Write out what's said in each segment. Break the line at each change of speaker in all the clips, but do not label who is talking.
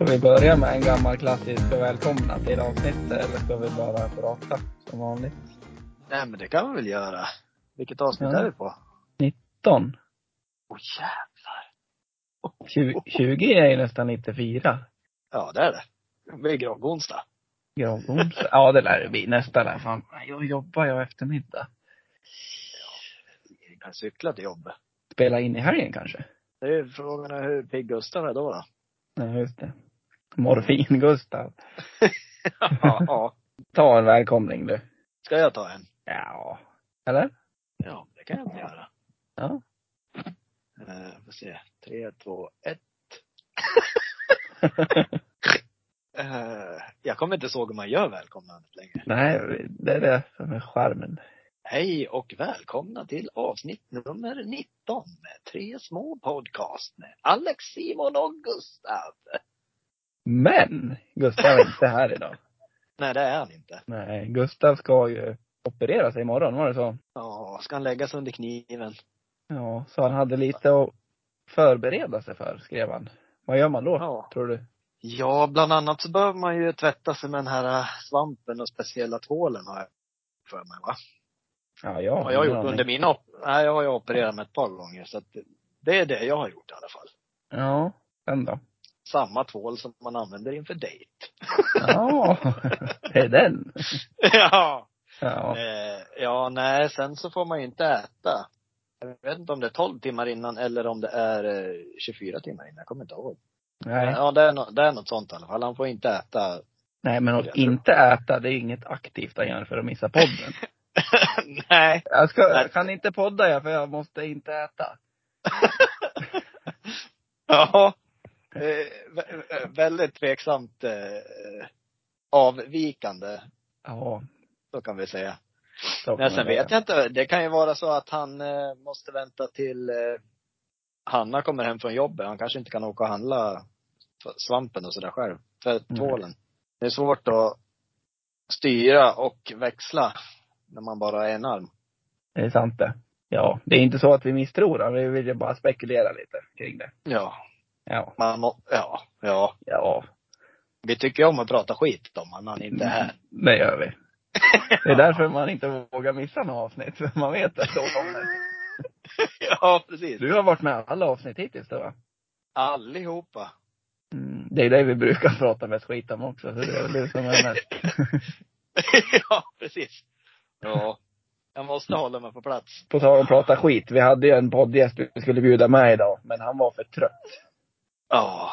vi börja med en gammal klassisk och välkomna till avsnittet eller ska vi bara prata som vanligt?
Nej men det kan vi väl göra. Vilket avsnitt
Ja.
är vi på?
19?
Åh jävlar.
20, 20 är ju nästan 94.
Ja det är det. Det är gravonsdag.
Gravons. Ja det lär det bli nästa där fan. Jag jobbar jag eftermiddag.
Vi kan cykla till jobbet.
Spela in i helgen kanske?
Det är ju frågan är hur pigg Gustav är då. då.
Ja just det. Morfin-Gustav.
ja, ja.
Ta en välkomning du.
Ska jag ta en?
Ja. Eller?
Ja, det kan jag inte göra.
Ja.
Eh, får se. Tre, två, ett. eh, jag kommer inte ihåg hur man gör välkomnandet längre.
Nej, det är det som är charmen.
Hej och välkomna till avsnitt nummer 19 med tre små podcast med Alex, Simon och Gustav.
Men! Gustav är inte här idag.
Nej, det är han inte.
Nej, Gustav ska ju operera sig imorgon, var det så?
Ja, ska han läggas under kniven?
Ja, så han hade lite att förbereda sig för, skrev han. Vad gör man då,
Ja.
tror du?
Ja, bland annat så behöver man ju tvätta sig med den här eh, svampen och speciella tvålen har jag för mig va?
Ja, jag
Har jag
ingen
gjort
aning.
under min op- Nej, jag har ju opererat mig ett par gånger så att det är det jag har gjort i alla fall.
Ja, sen då?
Samma tvål som man använder inför dejt.
Ja, det är den.
ja.
Ja.
Eh, ja, nej, sen så får man ju inte äta. Jag vet inte om det är 12 timmar innan eller om det är eh, 24 timmar innan. Jag kommer inte ihåg.
Nej.
Ja, det är, no- det är något sånt i alla fall. Han får inte äta.
Nej, men att inte äta, det är inget aktivt han gör för att missa podden.
nej.
Jag, ska,
Nej.
jag kan inte podda jag, för jag måste inte äta.
Ja. Eh, vä- vä- väldigt tveksamt eh, avvikande,
Ja,
så kan vi säga.
så
Nej,
kan
sen
man säga.
vet jag inte. Det kan ju vara så att han eh, måste vänta till eh, Hanna kommer hem från jobbet. Han kanske inte kan åka och handla f- svampen och sådär själv. För tvålen. Det är svårt att styra och växla när man bara har en arm.
Det är sant det. Ja, det är inte så att vi misstror honom, vi vill ju bara spekulera lite kring det.
Ja.
Ja,
Man må, ja, ja.
ja,
Vi tycker ju om att prata skit om honom, han är inte här.
det gör vi. Det är därför man inte vågar missa några avsnitt, för man vet att då kommer det.
ja, precis.
Du har varit med i alla avsnitt hittills då va?
Allihopa.
Mm, det är det vi brukar prata mest skit om också, så det är väl du som är mest.
ja, precis. Ja. Jag måste hålla mig på plats.
På tal om prata skit, vi hade ju en poddgäst vi skulle bjuda med idag, men han var för trött.
Ja.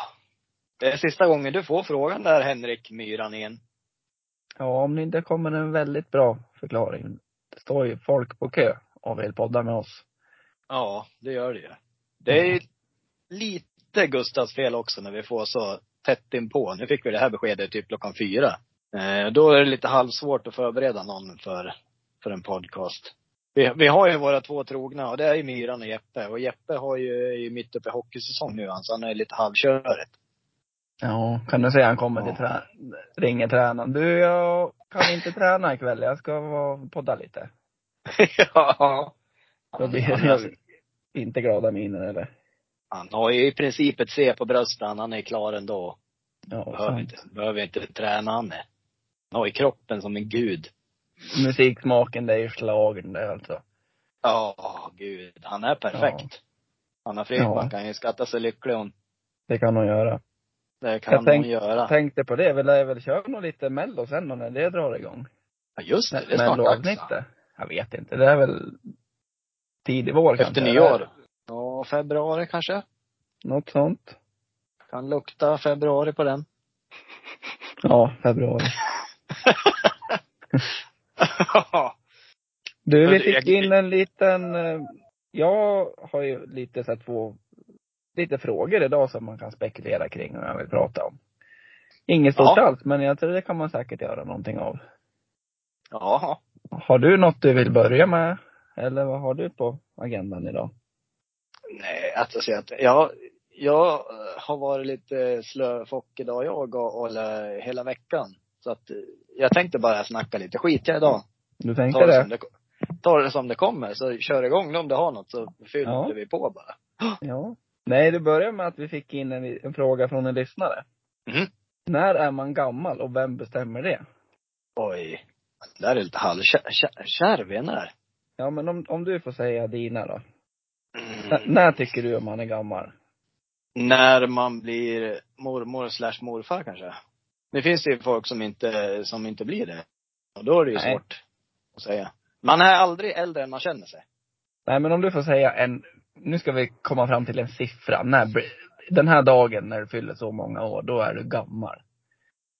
Det är sista gången du får frågan där, Henrik Myran igen.
Ja, om det inte kommer en väldigt bra förklaring. Det står ju folk på kö och vill podda med oss.
Ja, det gör det ju. Det är ju lite Gustavs fel också när vi får så tätt inpå. Nu fick vi det här beskedet typ klockan fyra. Eh, då är det lite halvsvårt att förbereda någon för, för en podcast. Vi, vi har ju våra två trogna och det är ju Myran och Jeppe. Och Jeppe har ju, är ju mitt uppe i hockeysäsong nu han, så han är lite halvköret.
Ja, kan du säga han kommer till
Ja.
trä... ringer tränaren. Du, jag kan inte träna ikväll, jag ska vara- podda lite.
ja.
Då blir
Han,
jag inte glada miner eller?
han har ju i princip ett C på bröstet. Han han är klar ändå.
Ja,
Behöver
sant.
inte, behöver inte träna han är. Han har ju kroppen som en gud.
Musiksmaken, det är ju schlagern det alltså.
Ja, gud. Han är perfekt. Anna Fridman
Ja.
kan ju skatta sig lycklig hon.
Det kan hon göra.
Det
Jag
kan hon
tänk-
göra.
Tänkte på det, vi lär väl köra något lite mello sen då när det drar igång.
ja, just det. Det är snart dags. va?
Melloavsnittet. Jag vet inte, det är väl tidig vår kanske.
Efter nyår. Ja, februari kanske.
Något sånt.
Kan lukta februari på den.
Ja, februari.
ja.
Du,
Men
vi
du,
fick
jag-
in en liten, eh, jag har ju lite så här två, lite frågor idag som man kan spekulera kring och jag vill prata om. Inget stort
Ja.
alls, men jag tror det kan man säkert göra någonting av.
Ja.
Har du något du vill börja med? Eller vad har du på agendan idag?
Nej, alltså så att jag, jag eh, har varit lite slöfock idag jag och, och eh, hela veckan. Så att eh, jag tänkte bara snacka lite skit jag idag.
Du tänkte
Ta det,
det?
som det, ta det som det kommer, så kör igång då om du har något så fyller
Ja.
vi på bara.
Ja. Nej, det börjar med att vi fick in en, en fråga från en lyssnare.
Mhm.
När är man gammal och vem bestämmer det?
Oj. Det där är lite halvkärv den där.
Ja men om, om du får säga dina då. N-
Mm.
när tycker du att man är gammal?
När man blir mormor slash morfar kanske. Det finns ju folk som inte, som inte blir det. Och då är det ju
Nej.
svårt att säga. Man är aldrig äldre än man känner sig.
Nej men om du får säga en, nu ska vi komma fram till en siffra. När, blir- den här dagen när du fyller så många år, då är du gammal.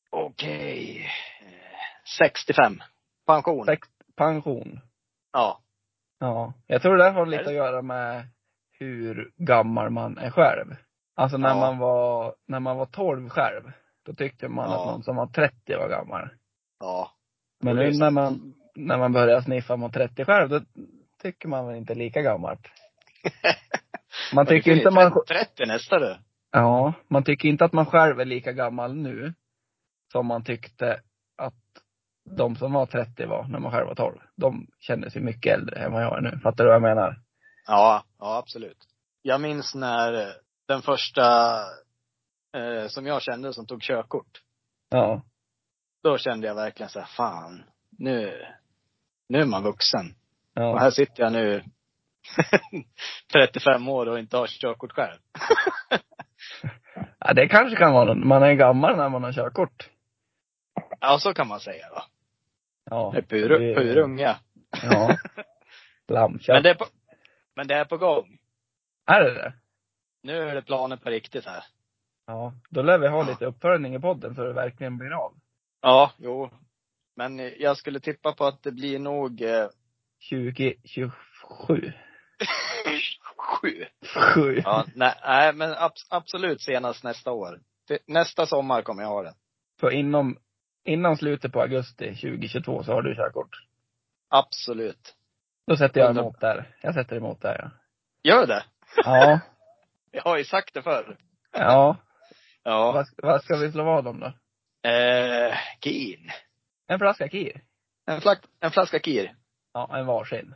Okej. Eh, 65. Pension.
Sex, pension.
Ja.
Ja. Jag tror det där har lite
Är
att göra med hur gammal man är själv. Alltså när
Ja.
man var, när man var 12 själv, då tyckte man
Ja.
att någon som var 30 var gammal.
Ja.
Men
Det är
nu
sant.
när man, när man börjar sniffa mot 30 själv, då tycker man väl inte lika gammalt. Man tycker inte man,
30 nästa du.
ja, man tycker inte att man själv är lika gammal nu som man tyckte att de som var 30 var när man själv var 12. De känner sig mycket äldre än vad jag är nu. Fattar du vad jag menar?
Ja, ja absolut. Jag minns när eh, den första eh, som jag kände som tog körkort.
Ja.
Då kände jag verkligen så här, fan, nu, nu är man vuxen. Och
Ja.
här sitter jag nu 35 år och inte har körkort själv.
ja, det kanske kan vara någon. Man är gammal när man har körkort.
Ja, så kan man säga då.
Ja.
Det är pur, purunga.
Ja. Lammkött.
Men det, är på, men det är på gång.
Är det det?
Nu är det planer på riktigt här.
Ja. Då lär vi ha lite uppföljning i podden så det verkligen blir av.
Ja, jo. Men eh, jag skulle tippa på att det blir nog eh,
2027.
sju.
Sju.
Ja, nej, nej men abs- absolut senast nästa år. Till- Nästa sommar kommer jag ha den.
Så inom, innan slutet på augusti 2022 så har du körkort.
Absolut.
Då sätter jag
Undra-
emot där. Jag sätter emot där ja.
Gör det!
Ja.
Jag har ju sagt det förr.
Ja.
Ja.
Vad, vad ska vi slå vad om då?
Eh, kin.
En flaska kir?
En, flak- en flaska kir.
Ja, en varsin.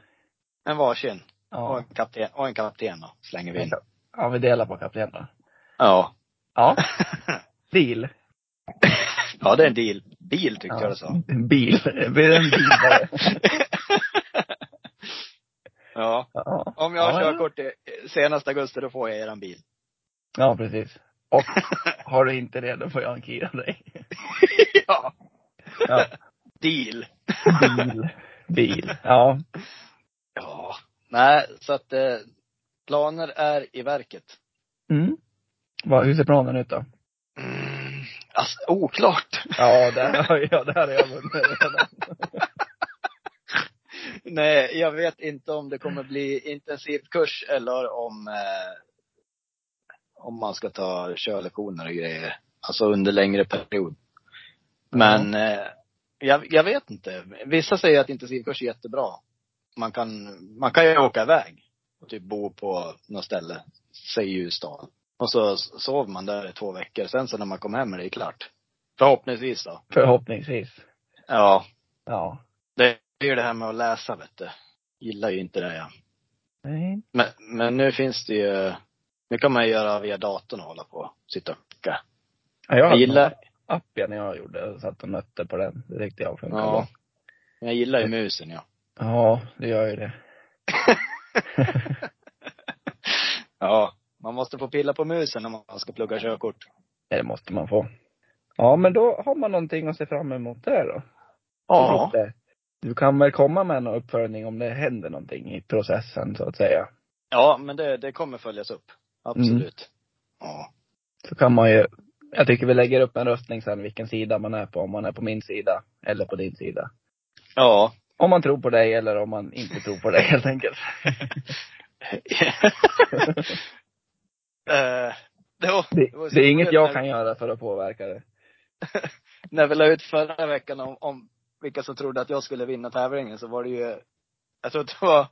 En varsin. Och
Ja.
en kapten. Och en kapten då, slänger vi in.
Ja, vi delar på kapten då.
Ja.
Ja. Deal.
Ja, det är en deal. Bil tyckte
Ja.
jag det sa.
En bil. Det blir en bil bara.
Ja.
Ja.
Om jag
Ja,
har
ja.
körkort i- senast augusti, då får jag eran bil.
ja, precis. Och har du inte det, då får jag en kir av dig.
ja.
Ja.
Deal.
Bil. Bil. Ja.
Ja. Nej, så att eh, planer är i verket.
Mm. Vad, hur ser planen ut då?
Mm, alltså, oklart.
Ja, där har jag, där har jag vunnit redan.
Nej, jag vet inte om det kommer bli intensivkurs eller om, eh, om man ska ta körlektioner och grejer. Alltså under längre period. Men eh, jag, jag vet inte. Vissa säger att intensivkurs är jättebra. Man kan, man kan ju åka iväg och typ bo på något ställe, säg Ljusdal. Och så sover man där i två veckor. Sen så när man kommer hem är det klart. Förhoppningsvis då.
Förhoppningsvis.
Ja,
Ja.
Det är ju det här med att läsa vet du. Gillar ju inte det jag.
Nej.
Men, men nu finns det ju, nu kan man ju göra via datorn och hålla på, sitta och kucka.
Ja, jag
Jag
hade
gillar,
appen jag gjorde och satt och nötte på den. Det tyckte jag funkade
Ja.
bra.
jag gillar ju musen ja.
Ja, det gör ju det.
Ja. Man måste få pilla på musen när man ska plugga körkort.
Det måste man få. Ja, men då har man någonting att se fram emot där då.
Ja.
Lite. Du kan väl komma med en uppföljning om det händer någonting i processen så att säga.
Ja, men det, det kommer följas upp. Absolut. Ja.
Så kan man ju, jag tycker vi lägger upp en röstning sen vilken sida man är på. Om man är på min sida eller på din sida.
Ja.
Om man tror på dig eller om man inte tror på dig helt enkelt.
Eh, det, var,
Det,
var så
det är inget
roligt
jag
när-
kan göra för att påverka det.
när vi la ut förra veckan om, om vilka som trodde att jag skulle vinna tävlingen så var det ju, jag tror att det var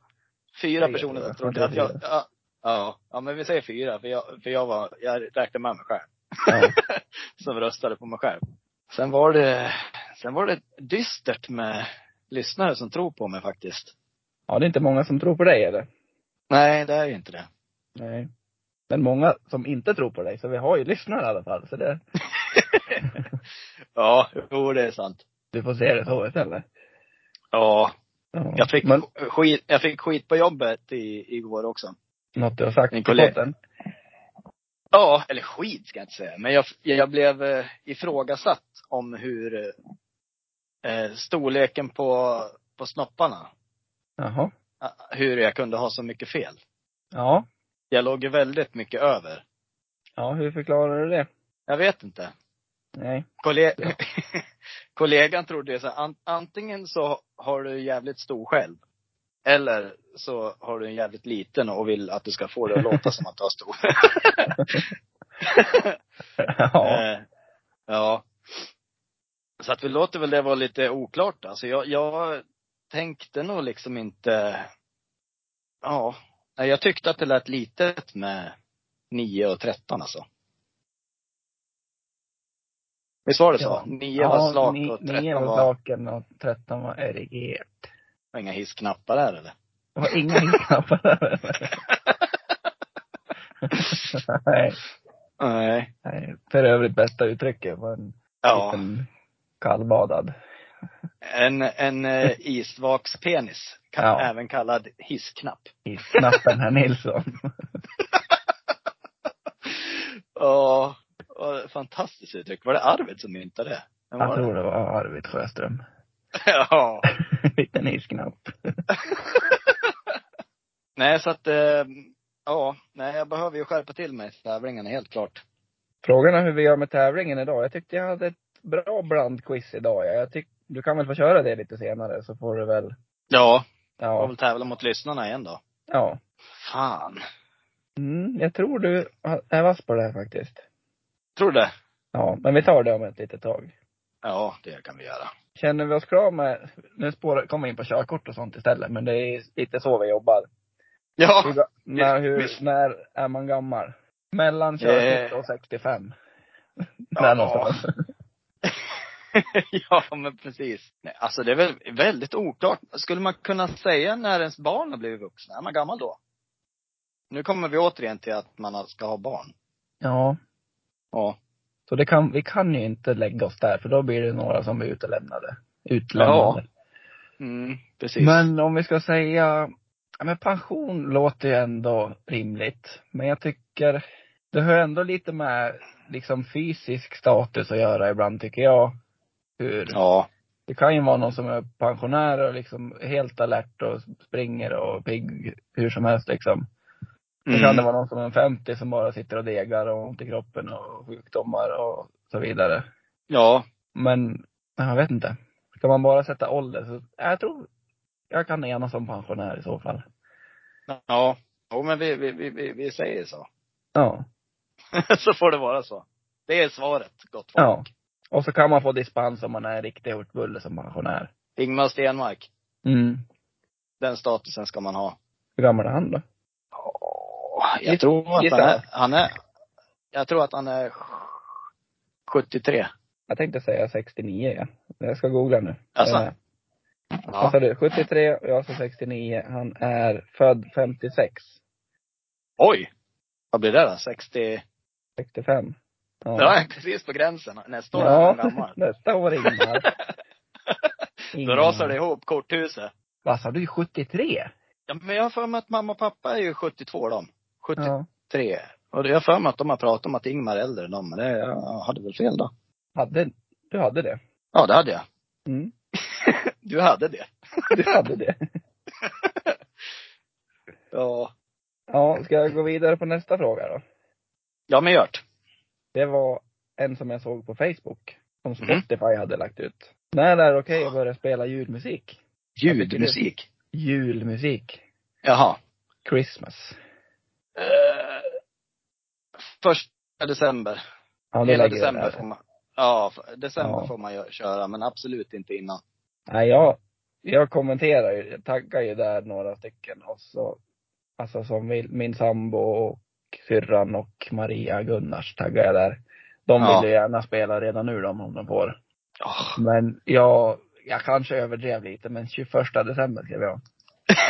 fyra
Tre,
personer som
va?
trodde att jag,
Fyra.
ja, ja, ja men vi säger fyra för jag, för jag var, jag räknade med mig själv.
Ja.
Som röstade på mig själv. Sen var det, sen var det dystert med lyssnare som tror på mig faktiskt.
ja, det är inte många som tror på dig eller?
Nej, det är ju inte det.
Nej. Men många som inte tror på dig, så vi har ju lyssnare i alla fall. Så det,
ja, jo det är sant.
Du får se det håret eller?
Ja,
Ja.
jag fick,
Men
skit, jag fick skit på jobbet i, igår också.
något du har sagt
Min
i
kollega-
podden?
Ja, eller skit ska jag inte säga. Men jag, jag blev eh, ifrågasatt om hur eh, storleken på, på snopparna.
Jaha.
eh, Hur jag kunde ha så mycket fel.
Ja.
Jag låg ju väldigt mycket över.
Ja, hur förklarar du det?
Jag vet inte.
Nej.
Kolle-
Ja.
Kollegan trodde ju så här, an, antingen så har du jävligt stor själv. Eller så har du en jävligt liten och vill att du ska få det att låta som att du har stor.
ja.
Eh, ja. Så att vi låter väl det vara lite oklart. Alltså jag, jag tänkte nog liksom inte, ja. Nej, Jag tyckte att det lät litet med 9 och 13 alltså. Visst var det så?
Ja.
9 var slak
ni-
och
nio
13
var
var,
slaken och 13 var RG.
var inga hissknappar där eller?
Det var inga hinknappar där. nej,
Nej.
nej. För övrigt bästa uttrycket var en
Ja.
liten kallbadad.
En, en eh, isvakspenis. Kan,
Ja.
Även kallad hissknapp.
i snappen herr Nilsson.
Ja, ja, fantastiskt uttryck. Var det Arvid som myntade det? Vem
Jag
var det?
tror det var Arvid Sjöström.
Ja.
liten isknapp.
Nej, så att, eh, ja, nej, jag behöver ju skärpa till mig i tävlingarna helt klart.
Frågan är hur vi gör med tävlingen idag. Jag tyckte jag hade ett bra blandquiz idag. Jag tyck, du kan väl få köra det lite senare så får du väl,
Ja. Jag får
ja.
väl tävla mot lyssnarna igen då.
ja.
Fan.
Mm, jag tror du är vass på det här faktiskt.
Tror du det?
Ja, men vi tar det om ett litet tag.
Ja, det kan vi göra.
Känner vi oss klara med, nu spårar, kommer vi in på körkort och sånt istället, men det är lite så vi jobbar. Hur,
Ah, Ja.
ga- när, hur,
visst. Eh.
när är man gammal? Mellan körkort och 65. Där
Ja.
någonstans.
ja, men precis. Nej, alltså det är väl väldigt oklart. Skulle man kunna säga när ens barn har blivit vuxna? Är man gammal då? Nu kommer vi återigen till att man ska ha barn.
Ja.
Ja.
Så det kan, vi kan ju inte lägga oss där, för då blir det några som blir utelämnade. Utlämnade.
Mm, precis.
Men om vi ska säga, ja, men pension låter ju ändå rimligt. Men jag tycker, det har ändå lite med liksom fysisk status att göra ibland tycker jag. Hur,
Ja.
Det kan ju vara någon som är pensionär och liksom helt alert och springer och pigg hur som helst liksom. Då
Mm.
kan det vara någon som är 50 som bara sitter och degar och har ont i kroppen och sjukdomar och så vidare.
Ja.
Men jag vet inte. Ska man bara sätta ålder så, jag tror jag kan enas som pensionär i så fall.
Ja. Jo, men vi, vi, vi- vi, vi säger så.
Ja.
så får det vara så. Det är svaret, gott folk.
Ja. Och så kan man få dispens om man är en riktig hurtbulle som pensionär.
Ingmar Stenmark,
Mm.
den statusen ska man ha.
Hur gammal är han då?
Jag tror att
gissa.
han är, han är, jag tror att han är 73.
Jag tänkte säga 69 ja. Jag ska googla nu.
Alltså,
Eh, Vad sa
Ja.
du? 73 och jag sa 69. Han är född 56.
Oj! Vad blir det då? 60?
65.
Ja, precis på gränsen. Nästa år är
Ja,
han gammal.
nästa år Ingmar.
Då rasar det ihop, korthuset.
Vad sa du? 73?
Ja, men jag har för mig att mamma och pappa är ju 72 de. 70,
Ja.
tre. Och jag har för mig att de har pratat om att Ingmar är äldre än dem, men det, jag hade väl fel då.
Hade, du hade det?
Ja, det hade jag.
Mm.
Du hade det.
Du hade det?
Ja.
Ja, ska jag gå vidare på nästa fråga då?
Ja, men gjort.
Det var en som jag såg på Facebook.
Mm.
Som Spotify hade lagt ut. När är det okej att börja spela julmusik?
Ljudmusik.
Julmusik.
Jaha.
Christmas.
Eh, första december.
Ja, det
Hela
lägger jag
december
där.
får man. Ja, f- december
Ja.
får man ju köra, men absolut inte innan.
Nej, jag, jag kommenterar ju, jag taggar ju där några stycken och så, alltså som min, min sambo och syrran och Maria Gunnars taggar jag där. De vill
Ja.
ju gärna spela redan nu de, om de får.
Oh.
Men jag, jag kanske överdrev lite, men 21 december skrev jag.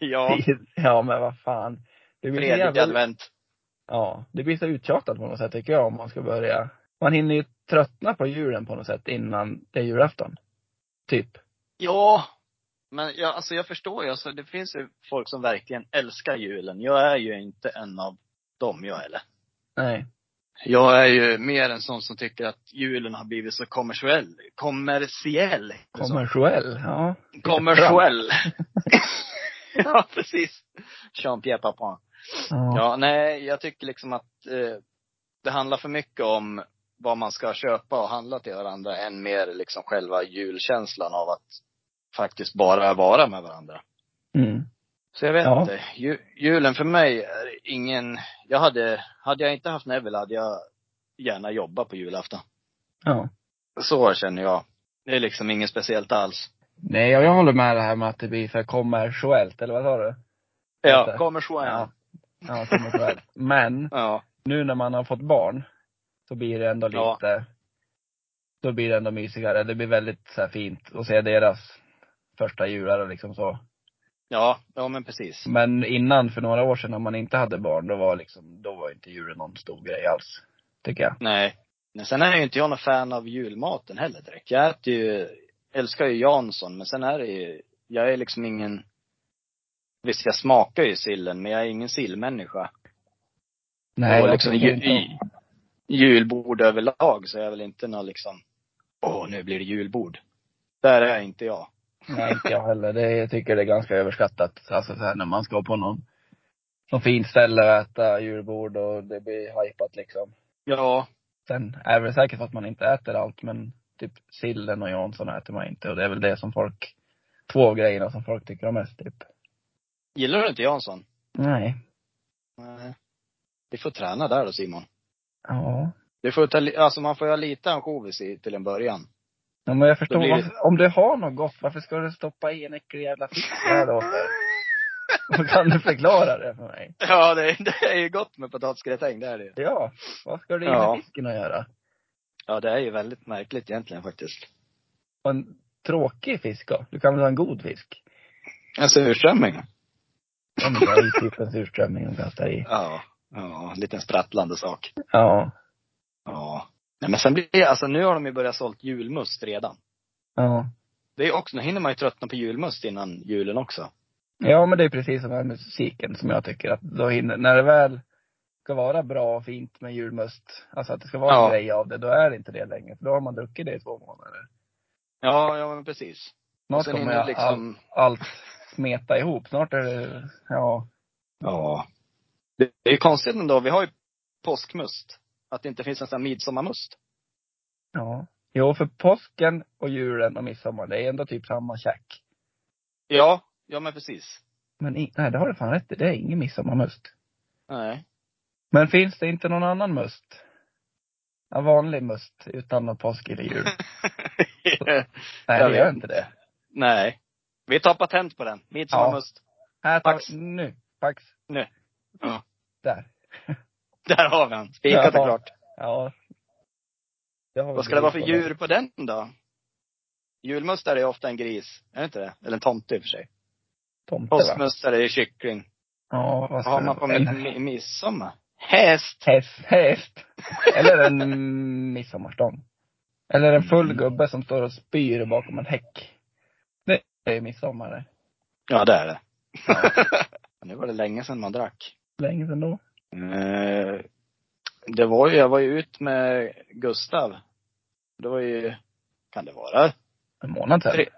ja,
Ja, ja men vad fan. Det blir, så
tredje
jävla,
advent.
ja, det blir så uttjatat på något sätt tycker jag om man ska börja man hinner ju tröttna på julen på något sätt innan det är julafton. Typ.
Ja. Men jag, alltså jag förstår ju, alltså, det finns ju folk som verkligen älskar julen. Jag är ju inte en av dem jag eller.
Nej.
Jag är ju mer en sån som tycker att julen har blivit så kommersiell. Kommersiell. heter det så.
Kommersiell, ja.
Kommersiell. ja, precis. Jean-Pierre Papin.
Ja.
Ja, nej, jag tycker liksom att eh, det handlar för mycket om vad man ska köpa och handla till varandra än mer liksom själva julkänslan av att faktiskt bara vara med varandra.
Mm.
Så jag vet
Ja.
inte. Ju, julen för mig är ingen, jag hade, hade jag inte haft Neville hade jag gärna jobbat på julafton.
ja.
Så känner jag. Det är liksom inget speciellt alls.
Nej, och jag håller med det här med att det blir för kommersiellt, eller vad sa du?
Ja,
Inte.
kommer så
Ja.
ja.
Ja, kommersiellt. Men,
ja.
nu när man har fått barn, så blir det ändå
Ja.
lite, då blir det ändå mysigare. Det blir väldigt så här fint att se deras första jular och liksom så.
Ja, ja men precis.
Men innan, för några år sedan, när man inte hade barn, då var liksom, då var inte julen någon stor grej alls. Tycker jag.
Nej. Men sen är ju inte jag någon fan av julmaten heller direkt. Jag äter ju, älskar ju Jansson, men sen är det ju, jag är liksom ingen, visst jag smakar ju sillen, men jag är ingen sillmänniska. och
jag
liksom
tycker
ju,
inte
i, julbord överlag så är jag väl inte någon liksom, åh nu blir det julbord. Där är inte jag.
Nej, inte jag heller. Det, jag tycker det är ganska överskattat. Alltså så här, när man ska på någon, någon fint ställe och äta julbord och det blir hypat liksom.
Ja,
Sen är det väl säkert att man inte äter allt, men typ sillen och Jansson äter man inte. Och det är väl det som folk, två av grejerna som folk tycker om mest typ.
gillar du inte Jansson?
Nej.
Nej. Vi får träna där då Simon.
Ja.
Du får ta, li- alltså man får ju ha lite ansjovis i- till en början.
ja men jag
Då
förstår.
blir det-
Varför, om du har något gott, varför ska du stoppa i en äcklig jävla fiskräv åt dig? Kan du förklara det för mig?
Ja, det, det är ju gott med potatisgratäng, det är det ju.
Ja. Vad ska det
Ja.
med fisken att göra?
Ja, det är ju väldigt märkligt egentligen faktiskt.
Och en tråkig fisk då? Du kan väl ha en god fisk?
Alltså surströmming?
Ja, men det är ju typ en surströmming de kastar i.
Ja. Ja, en liten sprattlande sak.
Ja.
Ja. Nej men sen blir det, alltså nu har de ju börjat sålt julmust redan.
Ja.
Det är också, nu hinner man ju tröttna på julmust innan julen också.
Ja, men det är precis som här med musiken som jag tycker att då hinner, när det väl ska vara bra och fint med julmust, alltså att det ska vara
Ja.
en grej av det, då är det inte det längre. För då har man druckit det i två månader.
Ja, ja men precis. Och
Snart
sen
kommer
hinner
jag
det liksom,
allt smeta ihop. Snart är det, ja.
ja. Det, det är ju konstigt ändå, vi har ju påskmust. Att det inte finns en sån här midsommarmust.
Ja. Jo, för påsken och julen och midsommar, det är ändå typ samma käk.
Ja, ja men precis.
Men i, nej, det har du fan rätt i. Det är ingen midsommarmust.
Nej.
Men finns det inte någon annan must? En vanlig must utan någon påsk eller jul? Nej,
Jag
det gör
vet
inte det.
Nej. Vi tar patent på den. Midsommarmust.
Här tar,
Pax.
nu, pax.
Nu. Ja.
Där.
Där har vi den. Spikat
Jaha.
och klart.
Ja. Det har vi
Vad ska det vara för
bevis på.
djur på den då? Julmustare är ofta en gris. Är det inte det? Eller en tomte i och för sig.
Tomte va?
Påskmustare är kyckling.
Ja, vad
Vad
ska
har
det
man på
vara?
mi-
En
mi- midsommar? Häst.
häst, häst. Eller en midsommarstång. Eller en
Mm.
full gubbe som står och spyr bakom en häck. Det är ju midsommar det.
Ja, det är det. nu var det länge sedan man drack.
Länge sedan då.
Eh, Det var ju, jag var ju ut med Gustav. Det var ju, kan det vara?
En månad sedan.
Tre-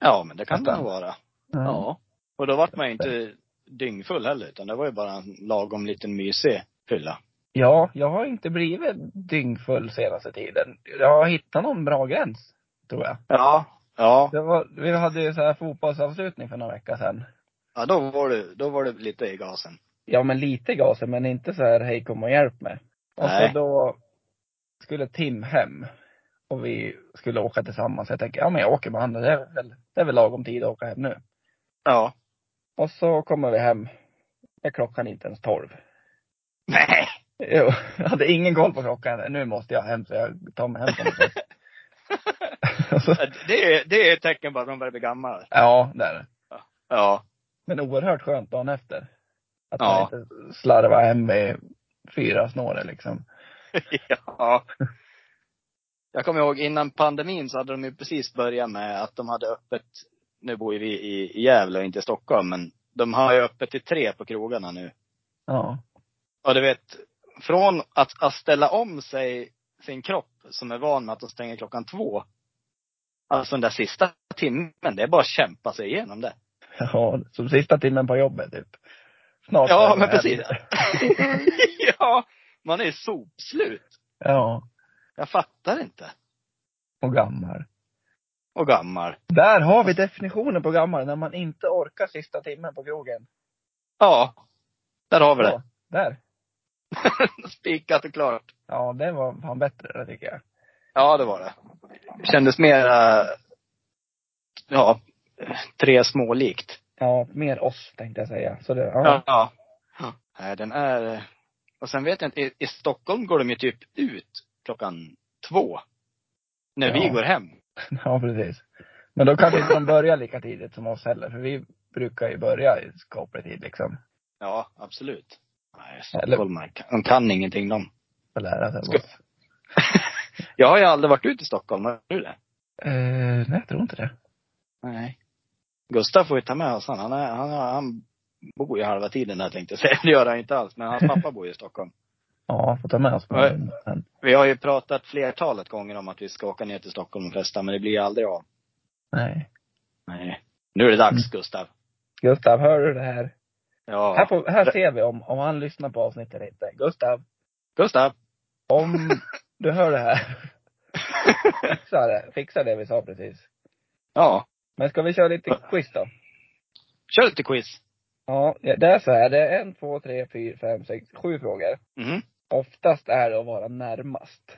Ja, men det kan det
Nästan.
nog vara.
Ja.
Ja. Och då vart man ju inte dyngfull heller, utan det var ju bara en lagom liten mysig fylla.
Ja, jag har inte blivit dyngfull senaste tiden. Jag har hittat någon bra gräns, tror jag.
Ja. Ja.
Det var, vi hade ju så här fotbollsavslutning för några veckor sedan.
Ja, då var du, då var du lite i gasen.
Ja, men lite gasen, men inte så här, hej kom och hjälp mig. Och så
Nej.
då skulle Tim hem. Och vi skulle åka tillsammans. Jag tänker, ja men jag åker med honom. Det är väl, det är väl lagom tid att åka hem nu.
Ja.
Och så kommer vi hem. Är klockan inte ens tolv.
Nej.
Jo, jag hade ingen koll på klockan. Nu måste jag hem, så jag tar mig hem på något sätt. Och så,
Det är, det är ett tecken på att man börjar bli gammal.
ja, det är det.
Ja.
Men oerhört skönt dagen efter. Att
Ja.
man inte slarvar hem med fyra snåror liksom.
Ja. Jag kommer ihåg innan pandemin så hade de ju precis börjat med att de hade öppet, nu bor ju vi i i Gävle och inte i Stockholm, men de har ju öppet till tre på krogarna nu.
Ja.
Och du vet, från att, att ställa om sig sin kropp som är van med att de stänger klockan två. Alltså den där sista timmen, det är bara att kämpa sig igenom det.
Ja, som sista timmen på jobbet typ. Snart är
Ja,
det
men
här.
precis. ja, man är sopslut.
Ja,
Jag fattar inte.
och gammal.
Och gammal.
Där har vi definitionen på gammal, när man inte orkar sista timmen på krogen.
Ja, där har vi det.
Ja, där.
Spikat och klart.
Ja, det var fan bättre det tycker jag.
Ja, det var det. Kändes mera, ja, tre små likt.
Ja, mer oss tänkte jag säga. Så det,
Ja.
ja.
ja. Nej, den är, och sen vet jag inte, i, i Stockholm går de ju typ ut klockan två. När vi
Ja.
går hem.
Ja. precis. Men då kanske inte de börjar lika tidigt som oss heller, för vi brukar ju börja i skaplig tid liksom.
Ja, absolut. Nej,
Eller-
stockholmare, kan- de kan ingenting de.
Och lära sig av
Ska-
oss.
Jag har ju aldrig varit ute i Stockholm, har du det?
Eh, nej, jag tror inte det.
Nej. Gustav får ju ta med oss han. Han, är, han, har- han bor ju halva tiden där tänkte jag säga. Det gör han inte alls, men hans pappa bor ju i Stockholm.
Ja, får ta med oss. på
Nej.
den. Men,
Vi har ju pratat flertalet gånger om att vi ska åka ner till Stockholm och festa, men det blir ju aldrig av.
nej.
Nej. Nu är det dags,
Mm.
Gustav.
Gustav, hör du det här? Här,
Ja.
får, här ser vi om, om han lyssnar på avsnittet eller inte. Gustav,
Gustav!
om du hör det här, fixa det, fixa det vi sa precis.
ja.
Men ska vi köra lite quiz då?
Kör lite quiz.
Ja, det är så här. Det är en, två, tre, fyra, fem, sex, sju frågor.
Mhm.
Oftast är det att vara närmast.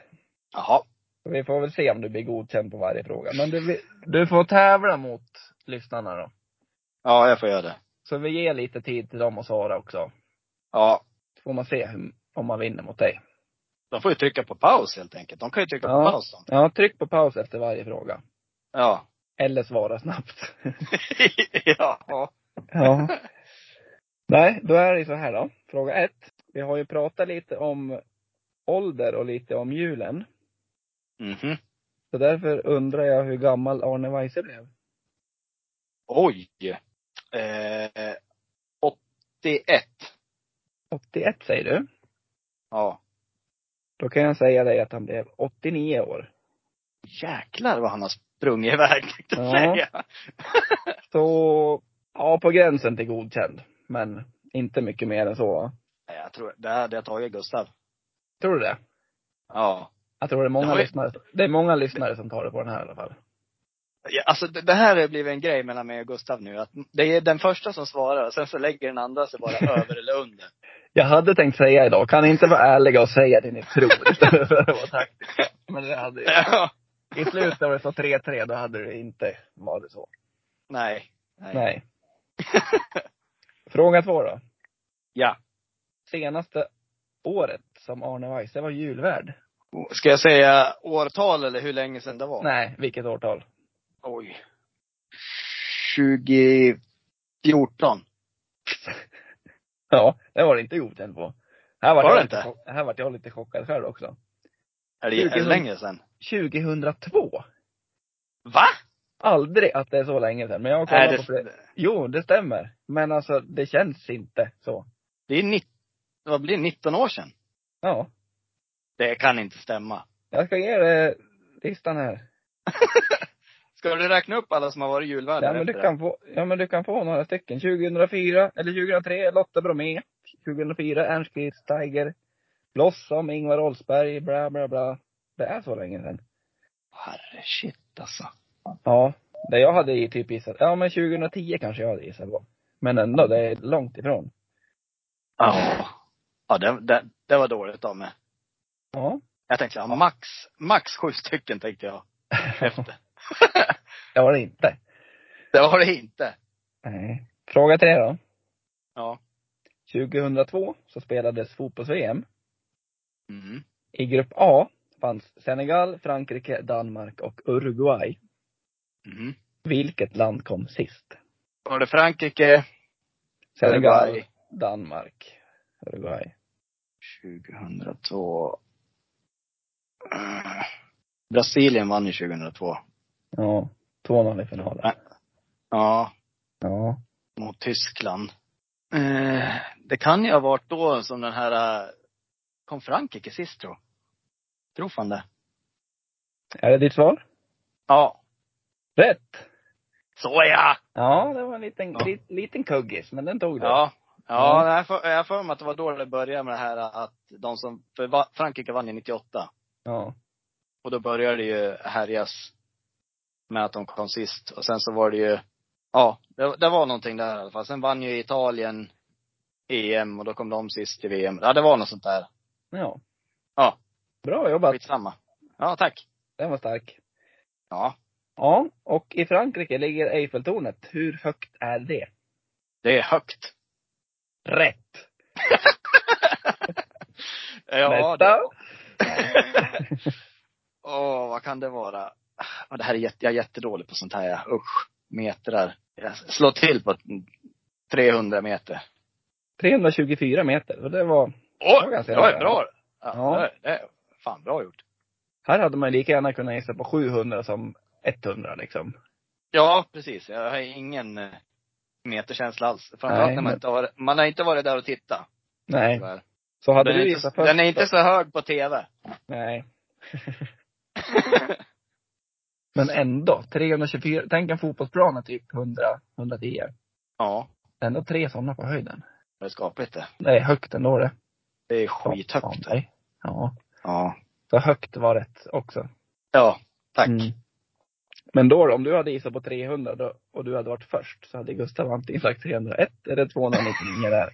Jaha.
Så Vi får väl se om du blir godkänd på varje fråga. Men du, du får tävla mot lyssnarna då.
Ja, jag får göra det.
Så vi ger lite tid till dem att svara också.
Ja.
Så får man se hur, om man vinner mot dig.
De får ju trycka på paus helt enkelt. De kan ju trycka
Ja.
på paus. de.
Ja, tryck på paus efter varje fråga.
Ja.
Eller svara snabbt.
ja.
Ja. Nej, då är det så här då. Fråga ett. Vi har ju pratat lite om ålder och lite om julen.
Mhm.
Så därför undrar jag hur gammal Arne Weise blev.
Oj! Eh, 81.
81 säger du.
Ja.
Då kan jag säga dig att han blev 89 år.
Jäklar vad han har sprungit iväg, tänkte jag
Ja.
säga.
Så, ja, på gränsen till godkänd. Men inte mycket mer än så. va?
Nej, Jag tror, det hade jag tagit Gustav.
Tror du det?
Ja.
Jag tror det är
Det
många,
var ju-
lyssnare, det är många lyssnare som tar det på den här i alla fall.
Ja, Alltså det det här har blivit en grej mellan mig och Gustav nu. Att det är den första som svarar och sen så lägger den andra sig bara över eller under.
Jag hade tänkt säga idag, kan ni inte vara ärliga och säga det ni tror istället för att vara taktiska? Men det hade jag.
Ja.
I slutet när det stod 3-3, då hade det inte varit så.
Nej. Nej.
Nej. Fråga två då.
Ja.
Senaste året som Arne Weise var julvärd.
Ska jag säga årtal eller hur länge sedan det var?
Nej, vilket årtal?
Oj. 2014.
Ja, det var det inte godkänt på. Här var,
Var
jag
det
lite
inte?
chock- Här var jag lite chockad själv också.
Är det, är det
2000.
länge sedan?
2002.
Va?
Aldrig att det är så länge sedan, men jag har kollat på
Nej, det,
fler. Jo, det stämmer. Men alltså, det känns inte så.
det är 19, vad blir det, 19 år sedan?
Ja,
Det kan inte stämma.
jag ska ge dig listan här.
Ska du räkna upp alla som har varit julvärdar
Ja men, du
efter
kan få, ja men du kan få några stycken. 2004, eller 2003, Lotta Bromé. 2004, Ernst Christ Tiger. Blossom, Ingvar Oldsberg, bla bla bla. Det är så länge sedan.
det? Herre shit alltså.
Ja. Det jag hade i typ gissat, ja men 2010 kanske jag hade gissat på. Men ändå, det är långt ifrån.
Ja. Ja, det, det, det var dåligt av mig.
Ja.
Jag tänkte, ja, max, max sju stycken tänkte jag. Efter.
Det var det inte.
det var det inte.
Nej. Fråga tre då.
Ja.
2002 så spelades fotbolls-VM.
Mm.
I grupp A fanns Senegal, Frankrike, Danmark och Uruguay.
Mm.
Vilket land kom sist?
Var det Frankrike?
Senegal,
Uruguay.
Danmark, Uruguay.
2002. Eh, Brasilien vann ju 2002.
Ja. 2-0 i finalen.
Nej. Ja,
Ja.
mot Tyskland. Eh, det kan ju ha varit då som den här, eh, kom Frankrike sist tror Tror fan det.
Är det ditt svar?
Ja.
Rätt!
Såja!
Ja, det var en liten,
Ja.
li, liten kuggis, men den tog du.
Ja.
Ja.
Ja, nej, jag får- jag har för mig att det var då det började med det här eh, att de som, för va- Frankrike vann ju 98.
ja.
Och då började det ju härjas med att de kom sist. Och sen så var det ju, ja, det, det var någonting där i alla fall. Sen vann ju Italien EM och då kom de sist i VM. Ja, det var något sånt där.
Ja.
Ja.
Bra jobbat.
Skitsamma. Ja, tack.
Den var stark.
Ja,
Ja, och i Frankrike ligger Eiffeltornet. Hur högt är det?
det är högt.
Rätt!
Ja,
Nästa!
det- Åh, vad kan det vara? Ja, det här är jätte, jag är jättedålig på sånt här. ja. Usch. Metrar. Jag slår till på 300 meter.
324 meter. Och det var,
Åh,
var ganska
det var
nära.
bra. Ja,
Ja.
Det, är- det är fan bra gjort.
här hade man lika gärna kunnat gissa på 700 som 100 liksom.
Ja, precis. Jag har ingen eh, meterkänsla alls.
Nej,
Framförallt när man
men-
inte har, man har inte varit där och tittat.
Nej.
tyvärr.
Så hade
Den är,
du
inte,
gissat först.
den är inte så hög på TV.
Nej. Men ändå. 324. Tänk en fotbollsplan är typ 100, 110.
ja,
Ändå tre sådana på höjden.
det är skapligt det.
Det är högt ändå det.
Det är
Ja,
skithögt.
ja, nej. Ja.
Ja.
Så högt var rätt också.
Ja, tack.
Mm. Men då, då, om du hade gissat på 300 då, och du hade varit först så hade Gustav antingen sagt 301 eller 299 där.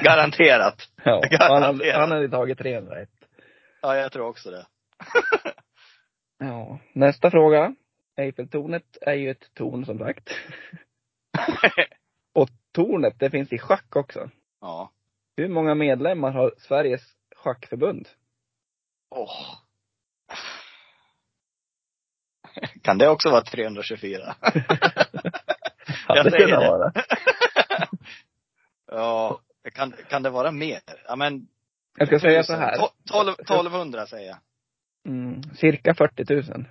Garanterat.
Ja, han, hade,
Garanterat.
han hade tagit 301.
Ja, jag tror också det.
Ja. Nästa fråga. Eiffeltornet är ju ett torn som sagt. och tornet, det finns i schack också.
Ja.
Hur många medlemmar har Sveriges schackförbund?
Åh. Kan det också vara 324?
Hade
Jag säger
kunnat
det.
vara.
Ja. Kan, kan det vara mer? Ja men.
Jag ska säga så här.
To- tolv- 1200 säger jag.
Mm, cirka 40 000.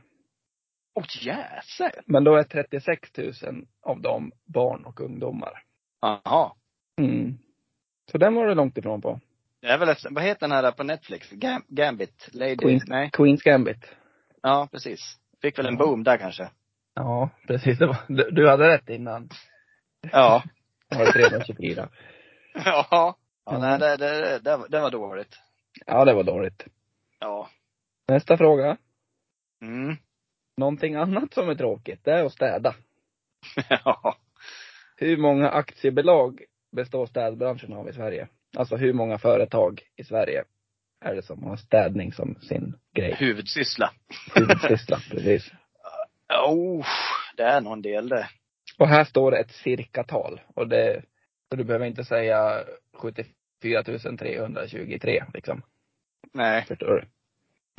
Åh oh, jäser.
Men då är 36 000 av dem barn och ungdomar.
Jaha.
Mm. Så den var du långt ifrån på.
Det är väl efter, vad heter den här på Netflix? Gam, Gambit? Lady?
Queens,
Nej.
Queens Gambit.
Ja, precis. Fick väl en
Ja.
boom där kanske.
Ja, precis. Det var, du, du hade rätt innan.
Ja.
Det var 324.
Ja. ja nej, det, det, det, var- det var dåligt.
Ja, det var dåligt.
Ja.
Nästa fråga.
Mm.
Någonting annat som är tråkigt, det är att städa.
Ja.
Hur många aktiebolag består städbranschen av i Sverige? Alltså hur många företag i Sverige är det som har städning som sin grej?
Huvudsyssla.
Huvudsyssla, precis.
Oh, det är någon del det.
Och här står det ett cirkatal. Och det, så du behöver inte säga 74 323 liksom.
Nej.
Förstår du?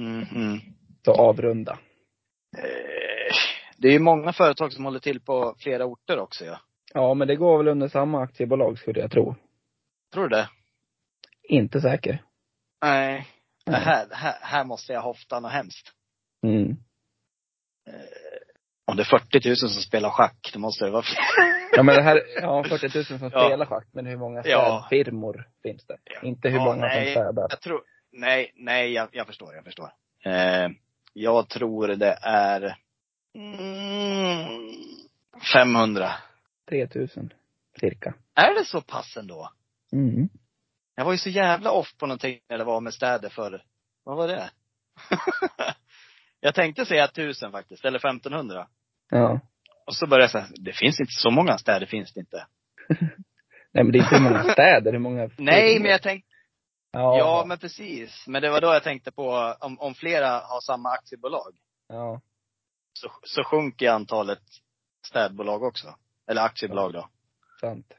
Mhm.
Så avrunda.
Eh, Det är ju många företag som håller till på flera orter också ja.
Ja, men det går väl under samma aktiebolag skulle jag tro.
Tror du det?
Inte säker.
Nej. Det
Nej.
här, det här, här måste jag hofta något hemskt.
Mm.
Eh, Om det är 40 000 som spelar schack, då måste det vara fler.
Ja men det här, ja 40 000 som
Ja.
spelar schack, men hur många
Ja.
städfirmor finns det?
Ja.
Inte hur
Ja,
många som
nej.
städar.
Jag tror, nej, nej, jag, jag förstår, jag förstår. Eh, jag tror det är mm, 500.
3 000 cirka.
Är det så pass ändå?
Mm.
Jag var ju så jävla off på någonting när det var med städer förr. Vad var det? jag tänkte säga 1000 faktiskt, eller 1500.
Ja.
Och så började jag säga, det finns inte så många städer, finns det inte.
Nej men det är inte hur många städer, hur många
Nej,
firmor.
men jag tänkte,
Ja.
ja men precis. Men det var då jag tänkte på, om, om flera har samma aktiebolag,
ja.
så, så sjunker antalet städbolag också. Eller aktiebolag då.
Sant.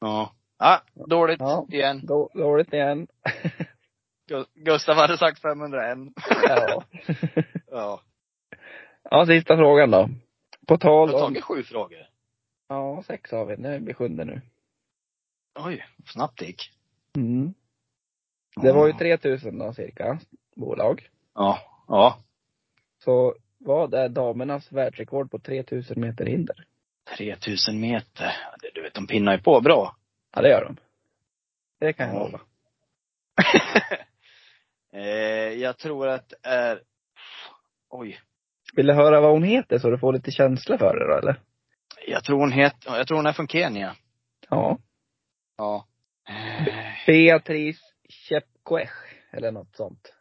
Ja. Ja, dåligt
Ja.
igen.
Då- Dåligt igen.
Gu- Gustav hade sagt 501.
Ja.
Ja.
Ja, sista frågan då. På
Jag
tal
har
om...
tagit sju frågor.
Ja, sex har vi. Nu blir sjunde nu.
Oj, vad snabbt det gick.
Mm. Det var ju 3000 då cirka, bolag.
Ja. Ja.
Så vad är damernas världsrekord på 3000 meter hinder?
3000 meter. Det- Du vet, de pinnar ju på bra.
Ja, det gör de. Det kan jag
Ja.
hålla.
eh, jag tror att det är... Oj.
Vill du höra vad hon heter så du får lite känsla för det då, eller?
Jag tror hon heter, jag tror hon är från Kenya.
Ja.
Ja. Eh,
Beatrice Chepkoech, eller något sånt.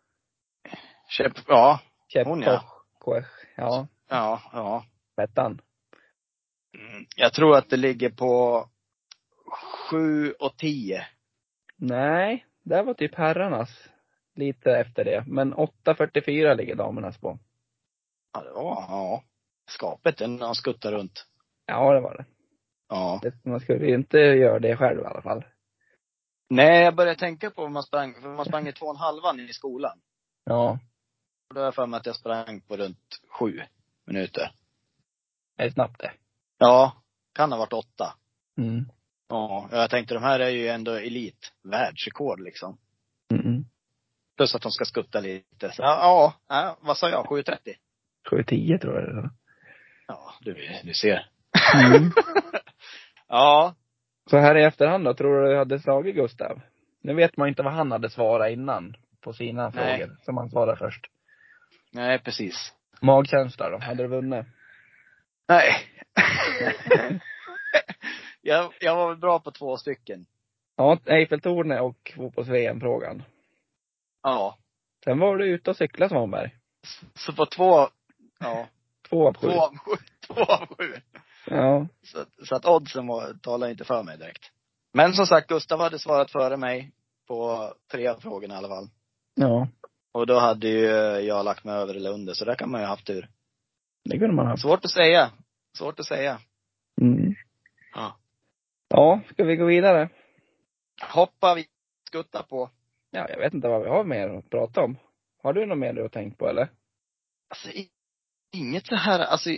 Shep, ja. Hon, ja.
Chepkoech. Ja,
Ja, ja.
hette han.
Mm, Jag tror att det ligger på 7 och 10.
Nej, det var typ herrarnas. Lite efter det. Men 8.44 ligger damernas på.
Ja, det var, ja. Skapet den när han skuttar runt.
Ja, det var det.
Ja.
det. Man skulle ju inte göra det själv i alla fall.
Nej, jag började tänka på om man sprang, för man sprang i två och en halvan i skolan.
Ja.
Och då har jag för mig att jag sprang på runt sju minuter.
Det är snabbt det.
Ja, kan ha varit åtta.
Mm.
Ja, jag tänkte de här är ju ändå elit. Världsrekord liksom.
Mm.
Plus att de ska skutta lite. Så, ja, ja, ja, vad sa jag? 7.30?
7.10 tror jag det var.
Ja, du, du ser.
Mm.
Ja,
Så här i efterhand då, tror du du hade slagit Gustav? Nu vet man ju inte vad han hade svarat innan på sina
Nej.
frågor som han svarade först.
nej precis.
Magkänsla då, hade du vunnit?
Nej. jag, jag var väl bra på två stycken.
Ja, Eiffeltornet och fotbolls-VM-frågan.
Ja.
Sen var du ute och cyklade Svanberg.
Så på två, ja,
Två av sju.
två av sju. Två av sju.
Ja.
Så, att- så att oddsen var, talade inte för mig direkt. Men som sagt, Gustav hade svarat före mig på tre av frågorna i alla fall.
Ja.
Och då hade ju jag lagt mig över eller under, så där kan man ju ha haft tur.
Det kunde man ha.
Svårt att säga. Svårt att säga.
Mm.
Ja.
Ja, ska vi gå vidare?
Hoppa vi skutta på.
Ja, jag vet inte vad vi har mer att prata om. Har du något mer du har tänkt på eller?
Alltså, i- inget så här, alltså,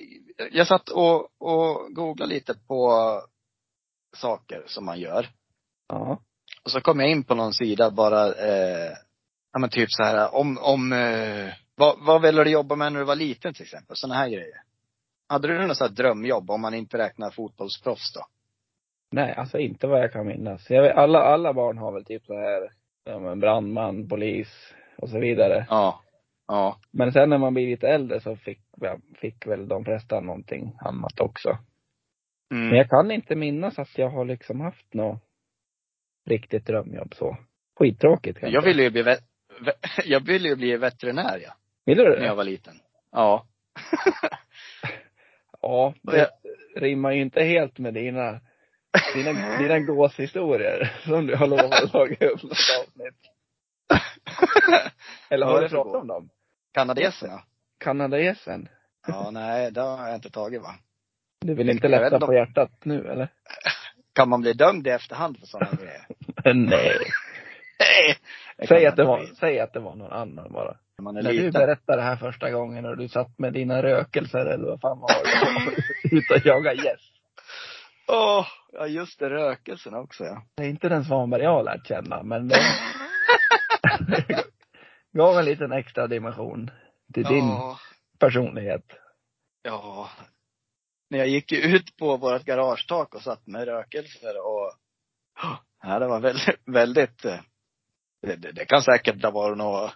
jag satt och, och googlade lite på saker som man gör.
Ja.
Och så kom jag in på någon sida bara, eh, ja men typ så här om, om eh, vad, vad ville du jobba med när du var liten till exempel? Sådana här grejer. Hade du något så här drömjobb om man inte räknar fotbollsproffs då?
Nej, alltså inte vad jag kan minnas. Jag vet, alla, alla barn har väl typ så här, ja men brandman, polis och så vidare.
Ja. Ja.
Men sen när man blir lite äldre så fick, ja, fick väl de flesta någonting annat också. Men
Mm.
jag kan inte minnas att jag har liksom haft något riktigt drömjobb så. Skittråkigt kanske.
Jag ville ju bli, vet, ve- jag ville ju bli veterinär ja,
Vill du
när jag
det?
var liten. Ja.
Ja, det rimmar ju inte helt med dina, dina, dina gåshistorier som du har lovat att laga upp något avsnitt. Eller
Vad
har
är
du
det för
pratat
gås?
om dem?
Kanadenserna.
Kanadagässen?
Ja, nej, det har jag inte tagit va.
Du vill inte
Jag vet
lätta
inte om-
på hjärtat nu eller?
Kan man bli dömd i efterhand för sådana grejer?
Nej.
Nej! kan
Säg
man
att, det
inte
var,
bli.
säg att det var någon annan bara.
När Man är
När du
liten.
berättade det här första gången och du satt med dina rökelser eller vad fan var det? Ute och jagade gäss.
Åh, ja just det, rökelsen också ja.
Det är inte den Svanberg jag har lärt känna, men den gav en liten extra dimension till din
Ja,
personlighet.
ja. När jag gick ju ut på vårt garagetak och satt med rökelser och, ja det var väldigt, väldigt, eh, det, det, det kan säkert ha varit något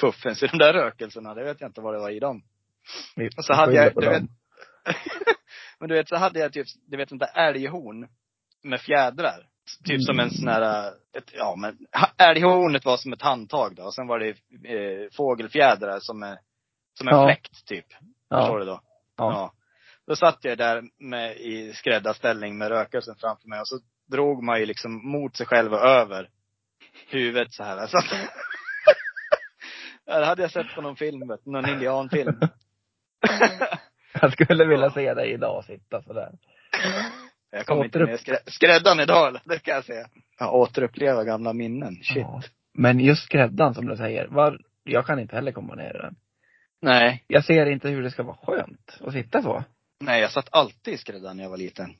fuffens i de där rökelserna, det vet jag inte vad det var i dem.
Vi
Och så hade
skyller
jag-
på
du
dem.
vet- Men du vet, så hade jag typ, du vet sånt där älghorn med fjädrar. Typ som
Mm.
en sån här, eh, ett, ja men, ha- älghornet var som ett handtag då. Och sen var det eh, fågelfjädrar som, en- som en
Ja.
fläkt typ.
ja.
Förstår du då?
Ja.
Då satt jag där med, i skräddarställning med rökelsen framför mig och så drog man ju liksom mot sig själv och över huvudet så här. Så att, Ja, det hade jag sett på någon film, vet du, någon indianfilm.
Jag skulle vilja se dig idag sitta sådär.
Jag kommer inte
Återupp-
med skrä- skräddan idag, eller? det kan jag säga. Jag återuppleva gamla minnen. Shit.
Ja. Men just skräddan som du säger, var, jag kan inte heller komma ner i den.
Nej.
Jag ser inte hur det ska vara skönt att sitta så.
Nej, jag satt alltid i skräddan när jag var liten.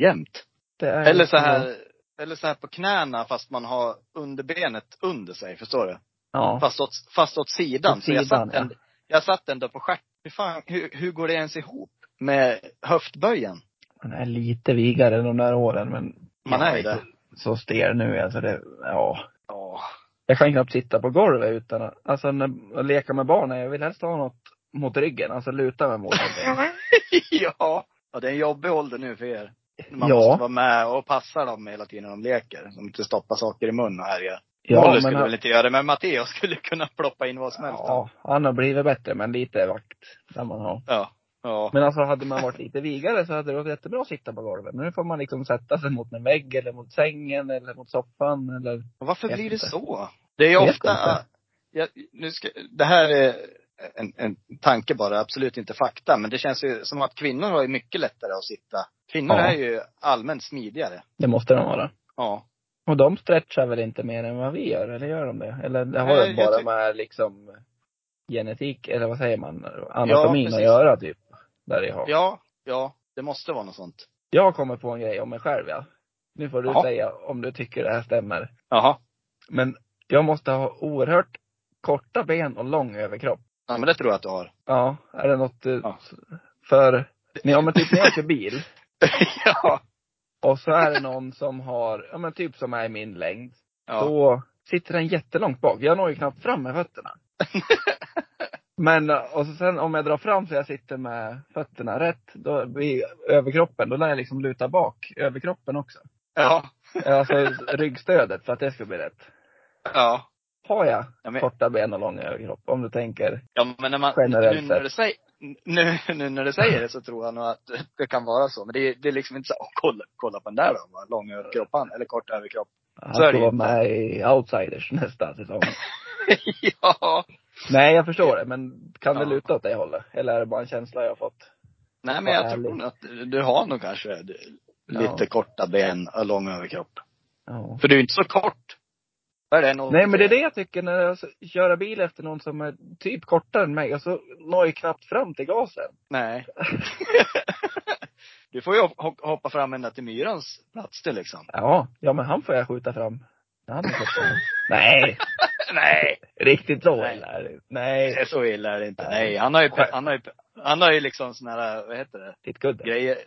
Jämt.
Det är
Eller så
liksom-
här, eller så här på knäna fast man har underbenet under sig, förstår du?
Ja.
Fast åt, fast åt sidan.
Åt
så jag
sidan,
satt, änd- Jag satt ändå på stjärt. Hur, fan, hur, hur går det ens ihop med höftböjen?
Man är lite vigare de där åren men
Man är ju
jag
det.
så stel nu alltså det, ja.
Ja.
Jag kan knappt sitta på golvet utan att, alltså när, att leka med barnen, jag vill helst ha något mot ryggen, alltså luta mig mot någonting.
ja. Ja, det är en jobbig ålder nu för er. Man
Ja.
måste vara med och passa dem hela tiden de leker. De inte stoppa saker i mun och härjar. Ja,
Ja,
Molly skulle väl inte göra det, men Matteo skulle kunna ploppa in vad som helst. Ja.
ja, han har blivit bättre men lite vakt kan man ha.
Ja. ja.
Men alltså hade man varit lite vigare så hade det varit jättebra att sitta på golvet. Men nu får man liksom sätta sig mot en vägg eller mot sängen eller mot soffan eller
Och varför
Vet
blir det
inte.
så? Det är ju
Vet
ofta,
inte.
jag, nu ska, det här är en, en tanke bara, absolut inte fakta, men det känns ju som att kvinnor har ju mycket lättare att sitta. Kvinnor
Ja.
är ju allmänt smidigare.
det måste de vara.
Ja.
Och de stretchar väl inte mer än vad vi gör, eller gör de det? Eller det har
Nej,
väl
jag
bara
tyck-
med liksom genetik, eller vad säger man, anatomin att
precis.
göra typ. Där jag, har.
Ja, ja, det måste vara något sånt.
jag kommer på en grej om mig själv ja. Nu får du
Ja.
säga om du tycker det här stämmer.
Jaha.
Men jag måste ha oerhört korta ben och lång överkropp.
Ja, men det tror jag att du har.
Ja, är det något eh,
Ja.
för, ja men typ när jag kör bil.
ja.
Och så är det någon som har, ja men typ som är i min längd.
ja.
Då sitter den jättelångt bak. Jag når ju knappt fram med fötterna. Men eh, och så sen om jag drar fram så jag sitter med fötterna rätt, då blir överkroppen, då lär jag liksom luta bak överkroppen också.
Ja.
Alltså ryggstödet för att det ska bli rätt.
Ja.
Har jag
Ja, men-
korta ben och lång överkropp? Om du tänker,
Ja men när man,
Generellt
nu när,
sett.
du säger, nu, nu när du säger det så tror jag nog att det kan vara så. Men det, är- det är liksom inte så, åh kolla, kolla på den där då, vad lång överkropp han, eller kort överkropp.
han
Så är
ska
det
vara
ju.
med i Outsiders nästa säsong.
ja.
Nej jag förstår det, men kan det
Ja.
luta åt det hållet? Eller är det bara en känsla jag har fått?
Nej men
Vad
jag
ärligt.
tror nog att du, du har nog kanske du,
Ja.
lite korta ben och lång överkropp.
Ja.
För du är ju inte så kort. Vad är det? Någon-
Nej men det är det jag tycker när jag s- köra bil efter någon som är typ kortare än mig och så når jag knappt fram till gasen.
Nej. du får ju hop- hoppa fram ända till myrans plats du liksom.
Ja, ja men han får jag skjuta fram. Ja, Han är kortare. Nej,
Nej.
riktigt så
Nej.
illa är det Nej,
Nej, så illa är det inte.
Nej.
Nej, han har ju, han har ju, han har ju liksom såna här, vad heter det,
ditt kudde.
grejer,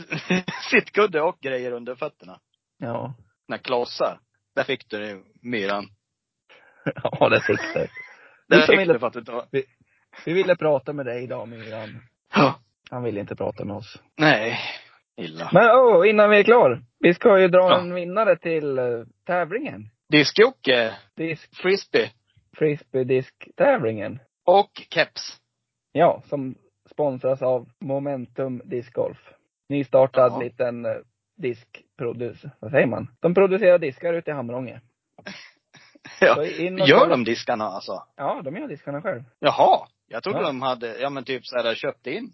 sittkudde och grejer under fötterna.
Ja.
Såna här klossar. Där fick du det, myran.
Ja, det fick du.
Där
Du som
fick
ville-
du för att du tar.
Vi ville prata med dig idag Myran.
Ja.
Han ville inte prata med oss.
Nej. Illa.
Men åh, innan vi är klar. Vi ska ju dra
Ja.
en vinnare till eh, tävlingen.
Diskjockey,
Disk,
eh, frisbee
frisbee-disk-tävlingen.
och keps.
Ja, som sponsras av Momentum Discgolf. Nystartad
Ja.
liten eh, diskproduc, vad säger man? De producerar diskar ute i Hamrånge. Så
Ja.
in och
Gör
kolla-
de diskarna alltså?
Ja, de gör diskarna själv.
Jaha. Jag trodde
Ja.
de hade, ja men typ såhär köpt in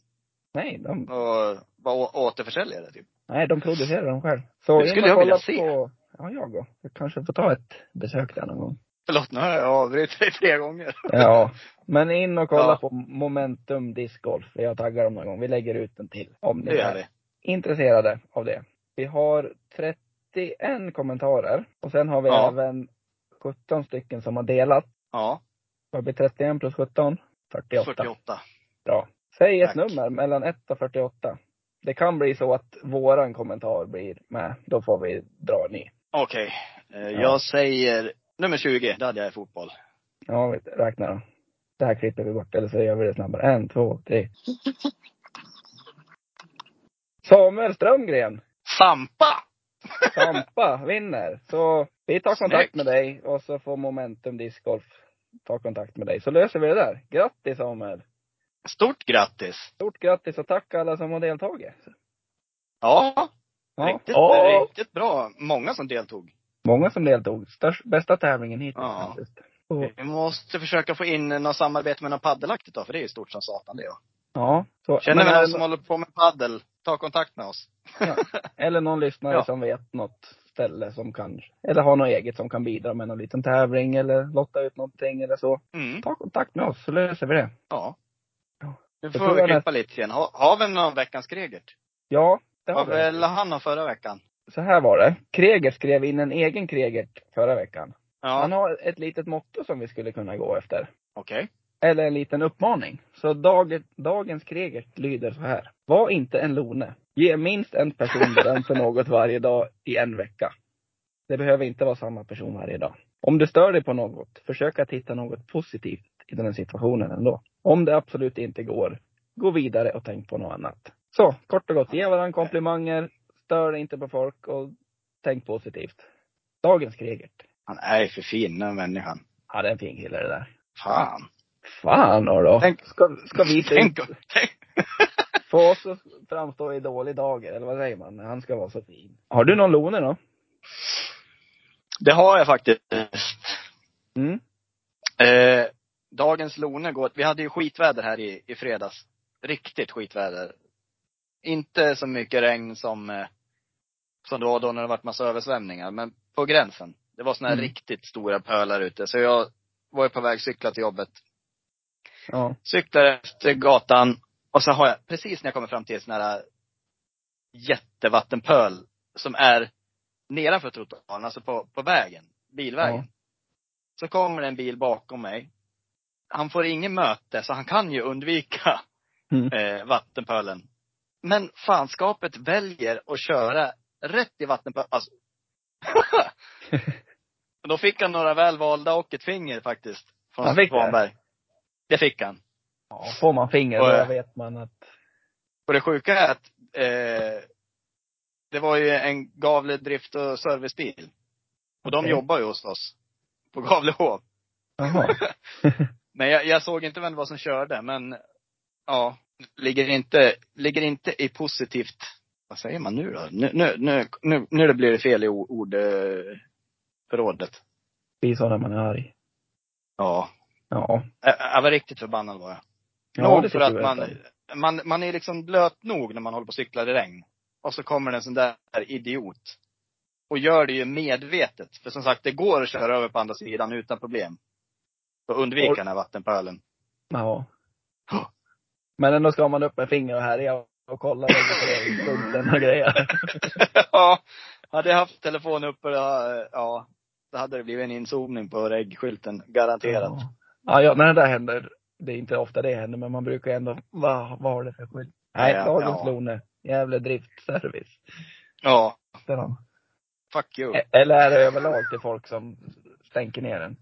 Nej, de,
och var å- återförsäljare typ.
nej, de producerar dem själv. Så
Det
in
skulle
och
jag vilja
kolla
se.
på, ja jag går. Jag kanske får ta ett besök där någon gång.
Förlåt, nu har jag avbrutit dig tre gånger.
Ja, men in och kolla
Ja.
på Momentum Discgolf. Jag taggar dem någon gång. Vi lägger ut en till om
Det
ni
gör
är
vi.
intresserade av det. Vi har 31 kommentarer och sen har vi
Ja.
även 17 stycken som har delat.
Ja.
Vad blir 31 plus 17? 48.
48.
Bra. Säg ett
Tack.
nummer mellan 1 och 48. Det kan bli så att våran kommentar blir med. Då får vi dra en ny.
Okej. Eh,
Ja.
Jag säger nummer 20, där hade jag i fotboll.
Ja, vi räknar då. Det här klipper vi bort, eller så gör vi det snabbare. En, två, tre. Samuel Strömgren,
Sampa!
Tampa, vinner. Så vi tar kontakt
Snyggt.
med dig och så får Momentum Discgolf ta kontakt med dig. Så löser vi det där. Grattis Samuel!
Stort grattis!
Stort grattis och tack alla som har deltagit.
Ja, Riktigt,
Ja.
riktigt bra. Många som deltog.
Många som deltog. Störst, bästa tävlingen hittills
Ja.
faktiskt. Och,
Vi måste försöka få in något samarbete med något paddelaktigt då, för det är ju stort som satan det. ja.
ja. Så,
Känner vi
men, eh,
någon
eller,
som håller på med paddel, ta kontakt med oss.
eller någon lyssnare
Ja.
som vet något ställe som kan, eller har något eget som kan bidra med någon liten tävling eller lotta ut någonting eller så.
Mm.
Ta kontakt med oss så löser vi det.
Ja.
Ja.
Nu
tror
får vi
jag
klippa lite igen. Har, har vi någon veckans Kregert?
Ja, det har
Vad
vi.
väl han av förra veckan?
Så här var det. Kreger skrev in en egen Kreger förra veckan.
Ja,
Han har ett litet motto som vi skulle kunna gå efter.
okej.
eller en liten uppmaning. Så dag, dagens Kregert lyder så här. Var inte en lone. Ge minst en person beröm för något varje dag i en vecka. Det behöver inte vara samma person varje dag. Om du stör dig på något, försök att hitta något positivt i den här situationen ändå. Om det absolut inte går, gå vidare och tänk på något annat. Så, kort och gott, ge varandra komplimanger, stör dig inte på folk och tänk positivt. Dagens Kregert.
Han är ju för fin den människan.
Ja, det är en fin kille det där.
Fan.
Fan då.
Tänk-
Ska, ska vi se ut
Tänk, tänk.
Få oss att framstå i dålig dager, eller vad säger man? När han ska vara så fin. Har du någon Lone då?
Det har jag faktiskt.
Mm.
Eh, dagens Lone går, vi hade ju skitväder här i, i fredags. Riktigt skitväder. Inte så mycket regn som, eh, som det var då när det varit massa översvämningar, men på gränsen. Det var såna här
Mm.
riktigt stora pölar ute. Så jag var ju på väg cykla till jobbet.
Ja.
Cyklar efter gatan och så har jag, precis när jag kommer fram till en sån här jättevattenpöl som är nedanför trottoaren, alltså på, på vägen, bilvägen.
Ja.
Så kommer det en bil bakom mig. Han får ingen möte, så han kan ju undvika
Mm.
eh, vattenpölen. Men fanskapet väljer att köra rätt i vattenpölen. Alltså. Och Då fick han några välvalda och ett finger faktiskt.
Han
Från
fick det?
Svanberg. Det fick han.
ja. Får man finger
Och,
då
eh,
vet man att...
Och det sjuka är att eh, det var ju en Gavle drift och servicebil. Och de
Okej.
jobbar ju hos oss. På Gavlehov.
Jaha.
Men jag, jag såg inte vem det var som körde, men ja. Ligger inte, ligger inte i positivt, vad säger man nu då? Nu, nu, nu, nu, nu blir det fel i o- ord, eh, förrådet.
Det är så när man är arg.
Ja.
Ja.
Jag, jag var riktigt förbannad var jag.
Ja,
Nog
det
för
tycker
att
jag
man,
verkligen.
man, man är liksom blöt nog när man håller på och cyklar i regn. Och så kommer det en sån där idiot. Och gör det ju medvetet. För som sagt, det går att köra över på andra sidan utan problem. Och undvika
Och-
den här vattenpölen.
Ja.
Ja.
Men ändå ska man upp med finger och härja och kolla registreringspunkten och grejer.
ja, hade jag haft telefon uppe, ja, ja, då hade det blivit en inzoomning på regskylten. Garanterat.
Ja. Ja, ja, när det där händer. Det är inte ofta det händer, men man brukar ändå, va, vad har det för skylt? Nej,
Ja,
dagens
ja.
Lone. Gävle driftservice.
Ja,
Det är han.
fuck you.
E- Eller är det överlag till folk som stänker ner den?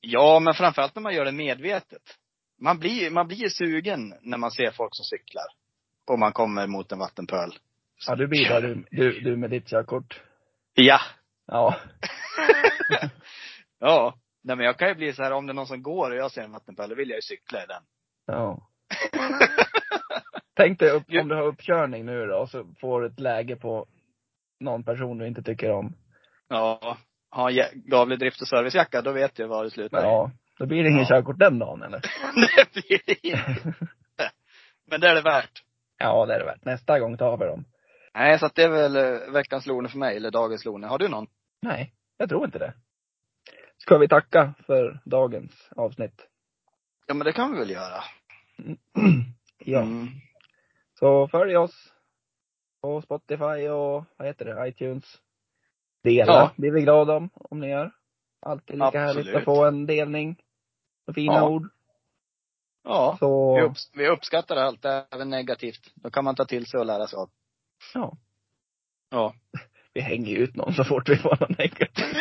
Ja, men framförallt när man gör det medvetet. Man blir, man blir ju sugen när man ser folk som cyklar. Och man kommer mot en vattenpöl.
Ja, du bidrar du, du, du med ditt körkort.
Ja.
Ja.
ja. Nej men jag kan ju bli så här om det är någon som går och jag ser en vattenpöl, då vill jag ju cykla i den.
ja. Tänk dig upp, om du har uppkörning nu då, och så får du ett läge på någon person du inte tycker om.
Ja. Har jag Gavlig drift och servicejacka, då vet jag var det slutar.
Ja. Då blir det ingen
Ja.
körkort den dagen eller?
det blir det inte. Men det är det värt.
Ja, det är det värt. Nästa gång tar vi dem.
Nej, så att det är väl eh, veckans Lone för mig, eller dagens Lone. Har du någon?
Nej, jag tror inte det. Ska vi tacka för dagens avsnitt?
Ja men det kan vi väl göra.
ja.
Mm.
Så följ oss på Spotify och vad heter det, iTunes. Dela
Ja.
blir vi glada om, om ni gör. Alltid lika härligt att
Absolut.
få en delning. Och fina
Ja.
ord.
Ja.
Så,
Vi, upps vi uppskattar allt, även negativt. Då kan man ta till sig och lära sig av.
ja.
Ja.
Vi hänger ut någon så fort vi får någon negativ.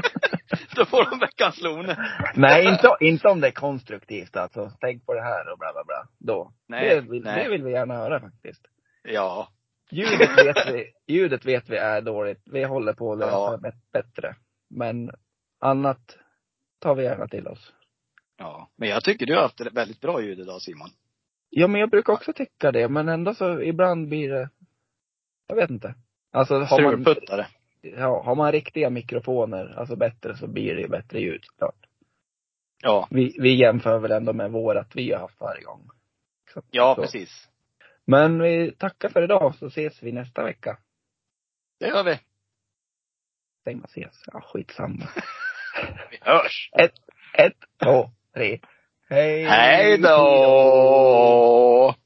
Då får de veckans Lone.
Nej, inte, inte om det är konstruktivt alltså. Tänk på det här och bla bla bla. Då.
Nej,
det, vill,
nej.
det vill vi gärna höra faktiskt.
Ja.
Ljudet vet vi, ljudet vet vi är dåligt. Vi håller på att lösa
Ja.
bet- bättre. Men annat tar vi gärna till oss.
Ja. Men jag tycker du har haft ett väldigt bra ljud idag Simon.
Ja, men jag brukar också tycka det. Men ändå så ibland blir det, jag vet inte. Alltså har man,
Strulputtare.
ja, har man riktiga mikrofoner, alltså bättre, så blir det ju bättre ljud såklart.
Ja.
Vi, vi jämför väl ändå med vårat vi har haft varje gång. Så-
Ja,
så.
precis.
Men vi tackar för idag så ses vi nästa vecka.
Det gör vi.
Säger man ses? Ja, skitsamma.
Vi hörs.
Ett, två, tre. Hej
Hej då!